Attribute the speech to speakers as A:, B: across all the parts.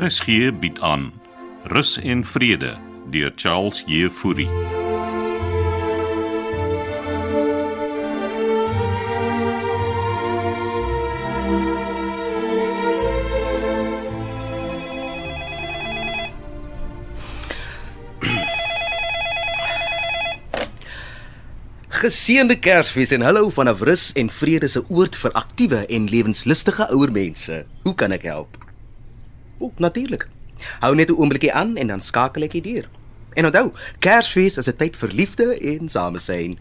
A: RSG bied aan Rus en Vrede deur Charles Jefouri.
B: Geseënde Kersfees en hallo vanaf rus en vrede se oord vir aktiewe en lewenslustige ouer mense. Hoe kan ek help? O, natuurlik. Hou net 'n oombliekie aan en dan skakel ek hier deur. En onthou, Kersfees is 'n tyd vir liefde en samesyn.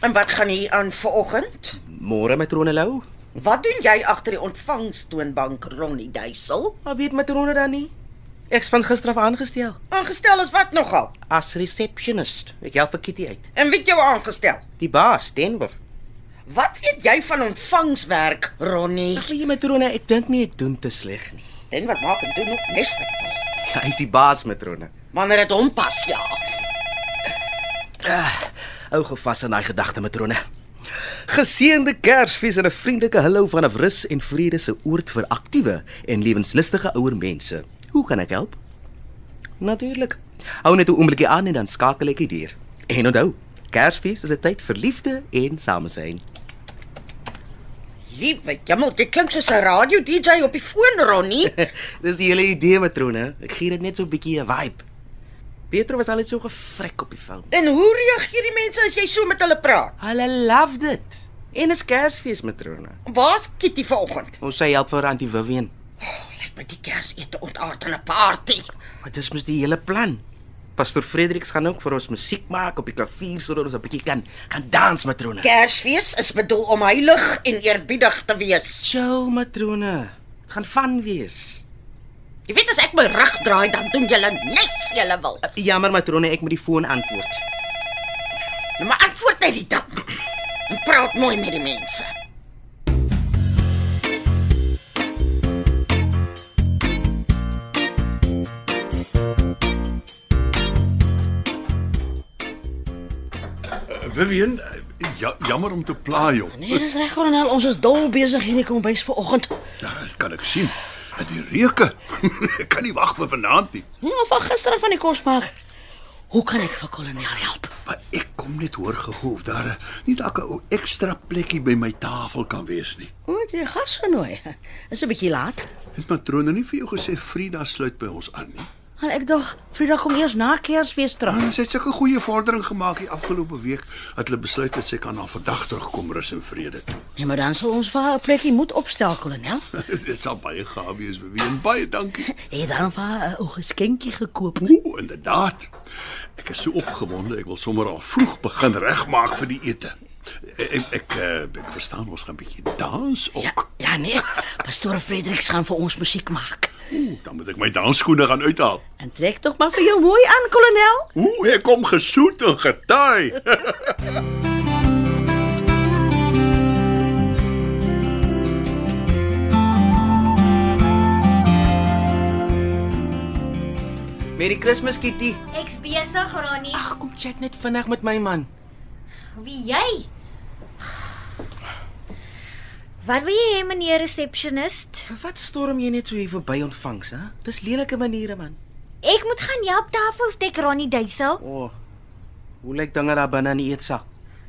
C: En wat gaan hier aan vanoggend?
B: Môre matrone Lou?
C: Wat doen jy agter die ontvangstoonbank, Ronnie Duisel?
B: Maar weet matrone dan nie. Ek's van gister af aangestel
C: Aangestel is wat nogal?
B: as receptionist. Ek help vir Kitty uit.
C: En wie het jou aangestel?
B: Die baas, Denver.
C: Wat weet jy van ontvangswerk, Ronnie?
B: Ag nee matrone, ek dink nie ek doen te sleg nie.
C: Dit wat maak en doen ook nes niks.
B: Ja, hy's die baas matrone.
C: Wanneer dit hom pas, ja.
B: Ah, Hou gevas aan daai gedagte matrone. Geseënde Kersfees en 'n vriendelike hallo vanaf rus en vrede se oord vir aktiewe en lewenslustige ouer mense. Hoe kan ek help? Natuurlik. Hou net 'n oombliekie aan en dan skakel ek hier. En onthou, Kersfees is 'n tyd vir liefde en samesyn.
C: Liewe jemmel, jy klink soos 'n radio DJ op die foon, Ronnie.
B: Dis die hele idee matrone. Ek gee dit net so 'n bietjie 'n vibe. Pietro was al net so gefrik op die foon.
C: En hoe reageer die mense as jy so met hulle praat?
B: Hulle love dit. En is Kersfees matrone.
C: Waar's Kitty vanoggend? Oh,
B: Ons sê help vir Auntie Vivian.
C: Lyk my die Kersete ontaard aan 'n party.
B: Maar dis mos die hele plan. Pastor Frederiks gaan ook vir ons musiek maak op die klavier sodat ons 'n bietjie kan kan dans matrone.
C: Kersfees is bedoel om heilig en eerbiedig te wees.
B: Chill matrone. Dit gaan van wees.
C: Jy weet as ek my rug draai dan doen julle niks julle wil.
B: Jammer matrone, ek moet die foon antwoord.
C: Nou maar antwoord net die ding. En praat mooi met die mense.
D: Vivian, eh, ja, jammer om te pla jou.
E: Nee, dis reg kolonel, ons is dol besig hier in die kombuis vanoggend.
D: Ja, dit kan ek sien. En die reuke. ek kan nie wag vir vanaand nie.
E: Nee, al van gister af van die kos maak. Hoe kan ek vir kolonel help?
D: Maar ek kom net hoor gegoe of daar eh, nie dalk 'n ou ekstra plekkie by my tafel kan wees nie.
E: O, het jy gas genooi. Is 'n bietjie laat.
D: Het matrone nie vir jou gesê Frida sluit by ons aan nie?
E: Maar ek dink Frida kom eers na Kersfees terug.
D: Ah, sy het sulke goeie vordering gemaak die afgelope week dat hulle besluit het sy kan na vandag terugkom rus en vrede toe.
E: Nee, maar dan sal ons vir haar 'n plekkie moet opstel, kolonel.
D: dit sal baie gaaf wees, Vivian. Baie dankie.
E: Het jy dan vir haar 'n ou geskenkie gekoop?
D: Ooh, inderdaad. Ek is so opgewonde, ek wil sommer al vroeg begin regmaak vir die ete. Ek ek eh, ek verstaan ons gaan 'n bietjie dans
E: Ja,
D: ook.
E: ja nee. Pastoor Frederiks gaan vir ons musiek maak.
D: Oeh, dan moet ek my dansskoene gaan uithaal.
E: En trek tog maar vir jou mooi aan, kolonel.
D: Ooh, ek kom gesoet en getaai.
B: Merry Christmas Kitty.
F: Ek's besig, Ronnie.
B: Ag, kom chat net vinnig met my man.
F: Wie jy? Wat wil jy hê, meneer resepsionist?
B: Vir wat storm jy net so hier verby ontvangs, hè? Dis lelike maniere man.
F: Ek moet gaan help tafels dek, Ronnie Duisel.
B: O. Oh, hoe lyk dinge daar binne in die eetsaal?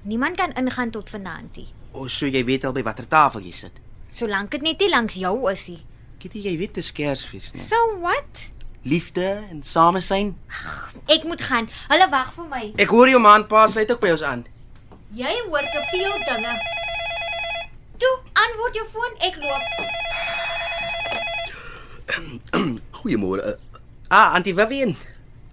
F: Niemand kan ingaan tot vanaand nie,
B: O, oh, so jy weet al by watter tafel jy sit.
F: solank dit net nie langs jou is nie.
B: Kitty, jy weet dis Kersfees, né?
F: So what?
B: Liefde en samesyn.
F: Ek moet gaan. Hulle wag vir my.
B: Ek hoor jou man pa sluit ook by ons aan.
F: Jy hoor te veel dinge. Toe, antwoord jou foon, ek loop.
B: Goeiemôre. eh. Ah, Auntie Vivian.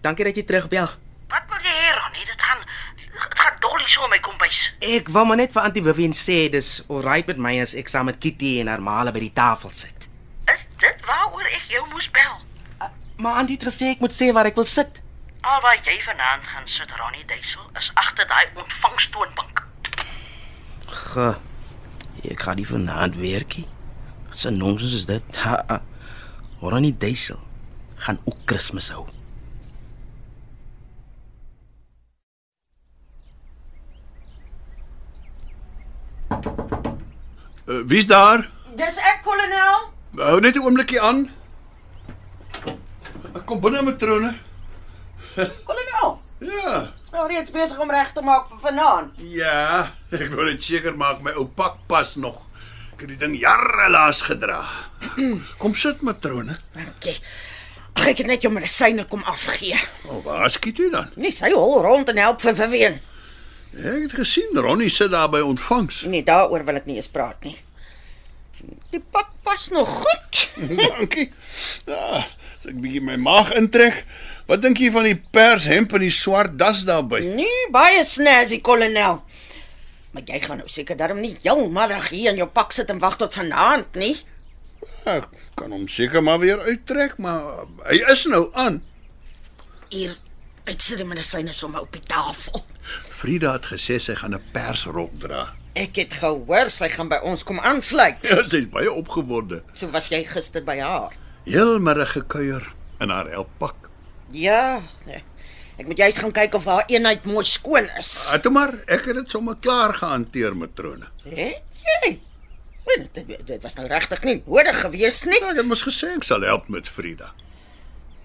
B: Dankie dat jy terugbel.
C: Wat wil jy hê, Ronnie? Dit gaan dit gaan dolly so my kombuis.
B: Ek wou maar net vir Auntie Vivian sê dis alright met my as ek saam met Kitty en haar maale by die tafel sit.
C: Is dit waaroor ek jou moes bel?
B: Maar Auntie het gesê ek moet sê waar ek wil sit.
C: Alwaar jy vanaand gaan sit, Ronnie Duisel, is agter daai ontvangstoonbank.
B: Ge. Ek gaan nie vanaand werkie. Wat 'n nonsens is dit? Ha, ha. Ronnie Duisel gaan ook Kersfees hou.
D: Uh, Wie's daar?
C: Dis ek, kolonel.
D: Eh, Hou net 'n oombliekie aan. Ek kom binne matrone.
E: Kom hulle nou.
D: Ja.
E: Nou reeds besig om reg te maak vir vanaand.
D: Ja, ek wil net seker maak my ou pak pas nog. Ek het die ding jare laas gedra. Kom sit matrone.
E: Dankie. Ag ek het net jou medisyne kom afgee.
D: O, oh, waar skiet jy dan?
E: Nee, sy hol rond en help vir Vivian.
D: Ek het gesien Ronnie sit daar by ontvangs.
E: Nee, daaroor wil ek nie eens praat nie. Die pak pas nog goed.
D: Dankie. Ja, as ek bietjie my maag intrek. Wat dink jy van die pershemp en die swart das daarbey?
E: Nee, baie snazzy kolonel. Maar jy gaan nou seker darm nie heelmiddag hier in jou pak sit en wag tot vanaand nie.
D: Ja, Ek kan hom seker maar weer uittrek, maar hy is nou aan.
E: Hier, ek sit die medisyne sommer op die tafel.
D: Frida het gesê sy gaan 'n persrok dra.
E: Ek het gehoor sy gaan by ons kom aansluit.
D: Ja, sy is baie opgewonde.
E: So was jy gister by haar.
D: Heelmiddag gekuier in haar helppak.
E: Ja. Nee. Ek moet juist gaan kyk of haar eenheid mooi skoon is.
D: Ah, toe maar, ek het dit sommer klaar gehanteer, matrone.
E: Het jy? Nee, dit, dit was nou regtig nie nodig gewees nie.
D: Ja, ek het mos gesê ek sal help met Frida.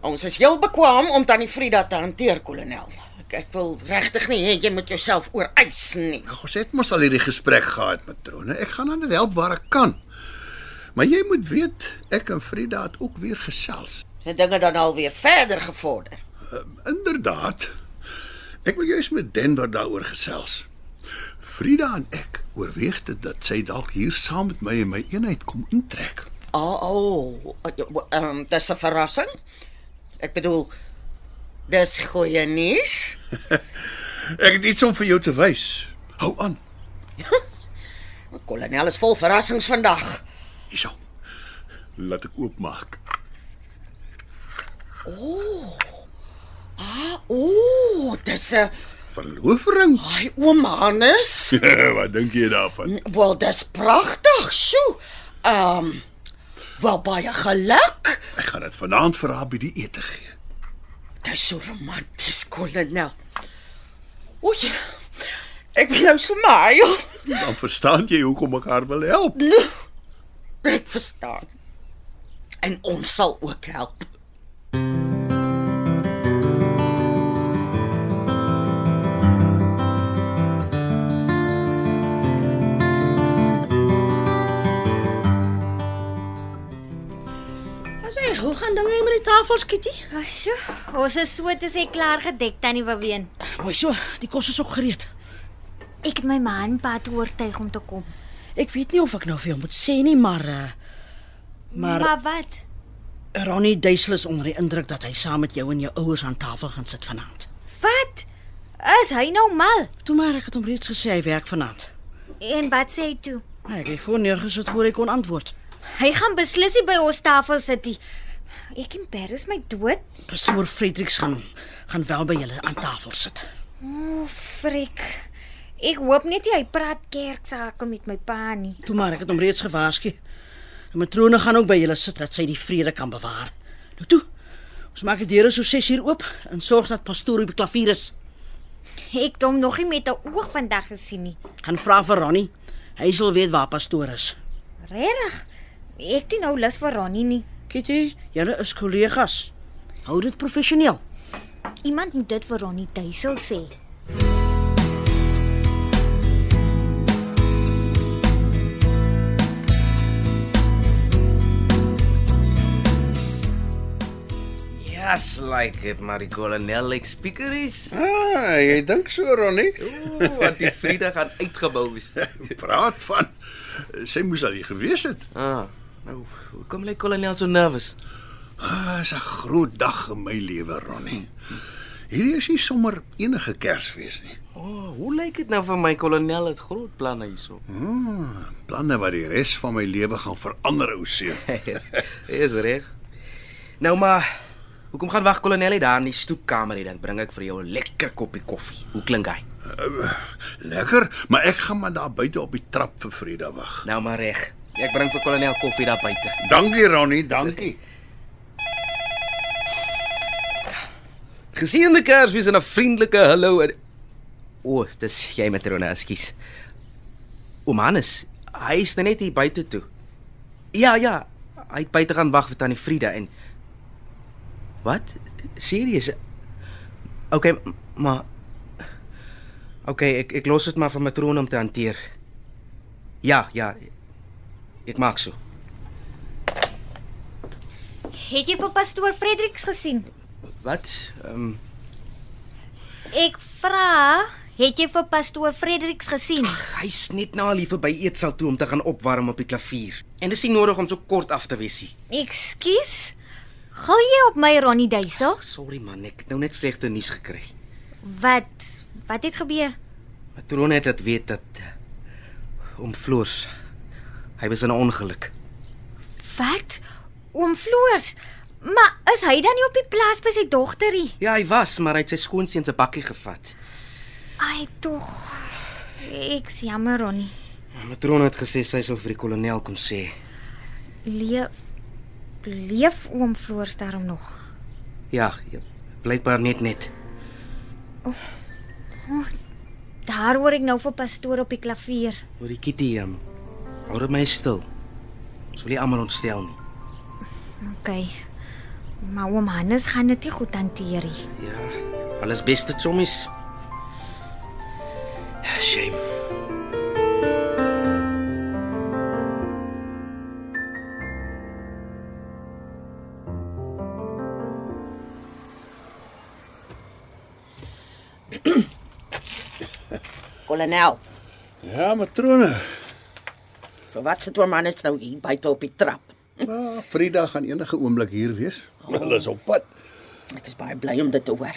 E: Ons is heel bekwam om tannie Frida te hanteer, kolonel. Ek, ek wil regtig nie hê jy moet jouself ooreis nie.
D: Ag, ons het mos al hierdie gesprek gehad, matrone. Ek gaan aan help waar ek kan. Maar jy moet weet, ek en Frida het ook weer gesels. Eh,
E: Die dinge dan alweer verder gevorder.
D: Inderdaad. Ek wil juis met Denver daaroor gesels. Frida en ek oorweeg dit dat sy dalk hier saam met my in my eenheid kom intrek.
E: Ah, oh, ehm um, dis 'n verrassing. Ek bedoel dis goeie nuus.
D: Ek het iets om vir jou te wys. Hou aan.
E: Die Kolonel is vol verrassings vandag.
D: Hierso. Laat ek oopmaak.
E: O, oh, Ah, dis 'n
D: Verloofring.
E: hy oom Hannes.
D: Wat dink jy daarvan?
E: Wel, dis pragtig, sjo. Ehm um, wel baie geluk.
D: Ek gaan dit vanaand vir haar by die ete gee.
E: Dis so romanties, kolonel. Oei. Ek wil nou smaai.
D: Dan verstaan jy hoekom ek haar wil help.
E: Ek verstaan. En ons sal ook help. Hoe gaan dinge met die tafels, Kitty?
F: Asjo, ons is so te sê klaar gedek tannie Waween.
E: Mooi so, die kos is ook gereed.
F: Ek het my man pad oortuig om te kom.
E: Ek weet nie of ek nou vir jou moet sê nie, maar uh, maar
F: Maar wat?
E: Ronnie Duisel is onder die indruk dat hy saam met jou en jou ouers aan tafel gaan sit vanaand.
F: Wat? Is hy nou mal?
E: Toe maar ek het hom reeds gesê hy werk vanaand.
F: En wat sê hy toe?
E: Maar ek het voor neergesit voor ek kon antwoord.
F: Hy gaan beslis nie by ons tafel sit nie. Ek embarrass my dood.
E: Pastoor Fredericks gaan gaan wel by julle aan tafel sit.
F: O, frik. Ek hoop net nie hy praat kerksake met my pa nie.
E: Toe maar ek het hom reeds gewaarsku. En matrone gaan ook by julle sit dat sy die vrede kan bewaar. Nou toe. Ons maak die deure so 6 uur oop en sorg dat pastoor op die klavier is.
F: Ek het hom nog nie met 'n oog vandag gesien nie.
E: Gaan vra vir Ronnie. Hy sal weet waar pastoor is.
F: Regtig? Ek het nie nou lus vir Ronnie nie.
E: Kitty, julle is kollegas. Hou dit professioneel.
F: Iemand moet dit vir Ronnie Duisel sê.
B: Yes, like it, maar die kolonel lyk like spiekeries.
D: Ah, jy dink so, Ronnie?
B: Ooh, wat die Vrydag gaan uitgebou is.
D: Praat van sy moes al hier gewees het.
B: Ah, nou, hoekom lyk kolonel so nervus?
D: Ah, is 'n groot dag in my lewe, Ronnie. Hierdie is nie sommer enige Kersfees nie.
B: O, oh, hoe lyk dit nou vir my kolonel het groot planne hierso.
D: Planne wat die res van my lewe gaan verander, ou seun.
B: Hy is- hy is reg. Nou maar, hoekom gaan wag kolonel hier daar in die stoepkamer hier dan bring ek vir jou 'n lekker koppie koffie. Hoe klink hy?
D: Eh, Lekker, maar ek gaan maar daar buite op die trap vir Frida wag.
B: Nou maar reg. Ek bring vir kolonel koffie daar buite.
D: Dankie, Ronnie, dankie.
B: Geseënde Kersfees en 'n vriendelike hallo. En... O, oh, dis jy met Rona, ekskuus. Oom Hannes, hy is nou net hier buite toe. Ja, ja. Hy het buite gaan wag vir tannie Frieda en Wat? Serius? Okay, m- maar Okay, ek ek los dit maar vir matrone om te hanteer. Ja, ja. Ek maak so.
F: Het jy vir pastoor Fredericks gesien?
B: Wat? Ehm um,
F: Ek vra, het jy vir pastoor Fredericks gesien?
B: hy's net na al hier verby eetsaal toe om te gaan opwarm op die klavier. En dis nie nodig om so kort af te wees nie.
F: Ekskuus. Gou jy op my Ronnie Duisel?
B: Sorry man, ek het nou net slegte nuus gekry.
F: Wat? Wat het gebeur?
B: Matrone het dit weet dat eh, om Floors. Hy was in 'n ongeluk.
F: Wat? Oom Floors. Maar is hy dan nie op die plaas by sy dogterie?
B: Ja, hy was, maar hy het sy skoonseun se bakkie gevat.
F: Ai tog. Ek is jammer Ronnie.
B: Matrone het gesê sy sal vir die kolonel kom sê.
F: Leef leef oom Floors daarom nog.
B: Ja, ja, blykbaar net net.
F: Daar hoor ek nou vir pastoor op die klavier.
B: Hoor die kitty hom. Hou dit my stil. Ons wil nie almal ontstel nie.
F: OK. Maar oom Hannes gaan dit nie goed hanteer nie.
B: Ja, alles beste chommies. Ja, Shame.
E: Kolonel,
D: Ja, matrone.
E: vir wat sit oom Hannes nou hier buite op die trap?
D: Ja, Vrydag gaan enige oomblik hier wees. Hulle is op pad.
E: Ek is baie bly om dit te hoor.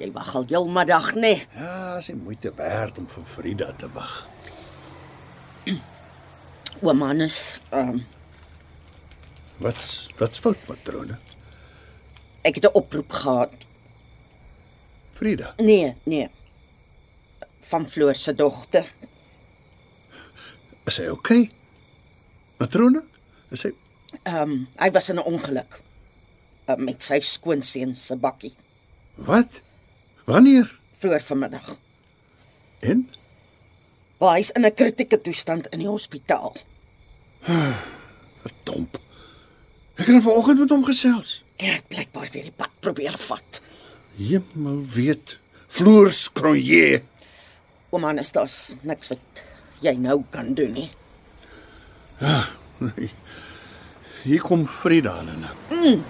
E: Jy wag al heelmiddag, nê? Nee.
D: Ja, sy moeite werd om vir Vryda te wag.
E: Oom Hannes, ehm um,
D: Wat wat's fout, matrone?
E: ek het 'n oproep gehad.
D: Vryda.
E: Nee, nee. Van Floor se dogter.
D: Is hy oukei? Okay? Matrone? Is hy
E: Ehm um, hy was in 'n ongeluk uh, met sy skoonseun se bakkie
D: wat? Wanneer?
E: vroeër vanmiddag.
D: En
E: Maar hy's in 'n kritieke toestand in die hospitaal.
D: verdomp. Ek het nou vanoggend met hom gesels.
E: Hy het blykbaar weer die pad probeer vat.
D: Hemel weet. Floors Cronje.
E: Oom Hannes, daar's niks wat jy nou kan doen nie.
D: Hier kom Vryda hulle.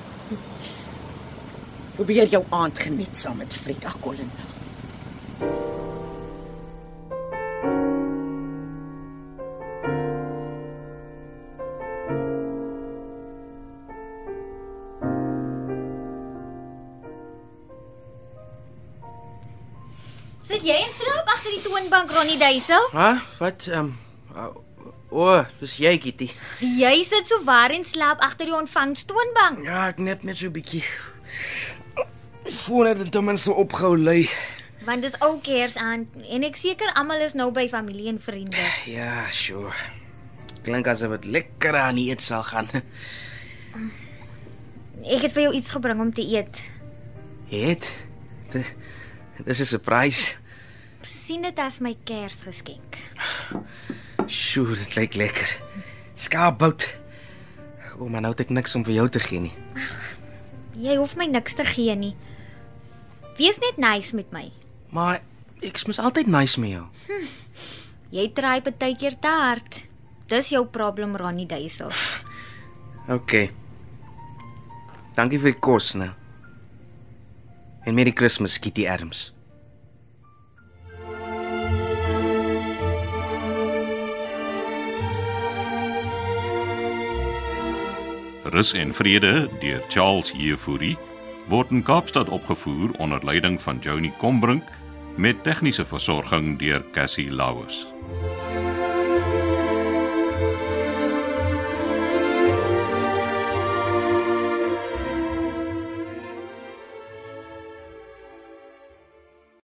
E: Probeer jou aand geniet saam met Frida Collin.
F: Sit jy en slaap agter die toonbank Ronnie Duisel?
B: Ha? Wat ehm um, o, oh, dis jy kitty.
F: Jy sit so waar en slaap agter die ontvangstoonbank.
B: Ja, ek net net so 'n bietjie. Voordat dit ten minste opgehou lê.
F: Want dis ou Kersaand en ek seker almal is nou by familie en vriende.
B: Ja, sure. Klink asof dit lekker aan die eet sal gaan.
F: Ek het vir jou iets gebring om te eet.
B: Het? Di- Dis 'n surprise.
F: sien dit as my Kersgeskenk.
B: Sjoe, dit lyk lekker. Skaapbout. O, maar nou het ek niks om vir jou te gee nie.
F: Jy hoef my niks te gee nie. Wees net nice met my.
B: Maar ek's mos altyd nice met jou.
F: Jy try baie keer te hard. Dis jou probleem Ronnie Duisel.
B: OK. Dankie vir die kos, né? En Merry Christmas, Kitty Adams.
A: Rus en Vrede deur Charles Jefouri word in Kaapstad opgevoer onder leiding van Johnny Combrink met tegniese versorging deur Cassie Lauers.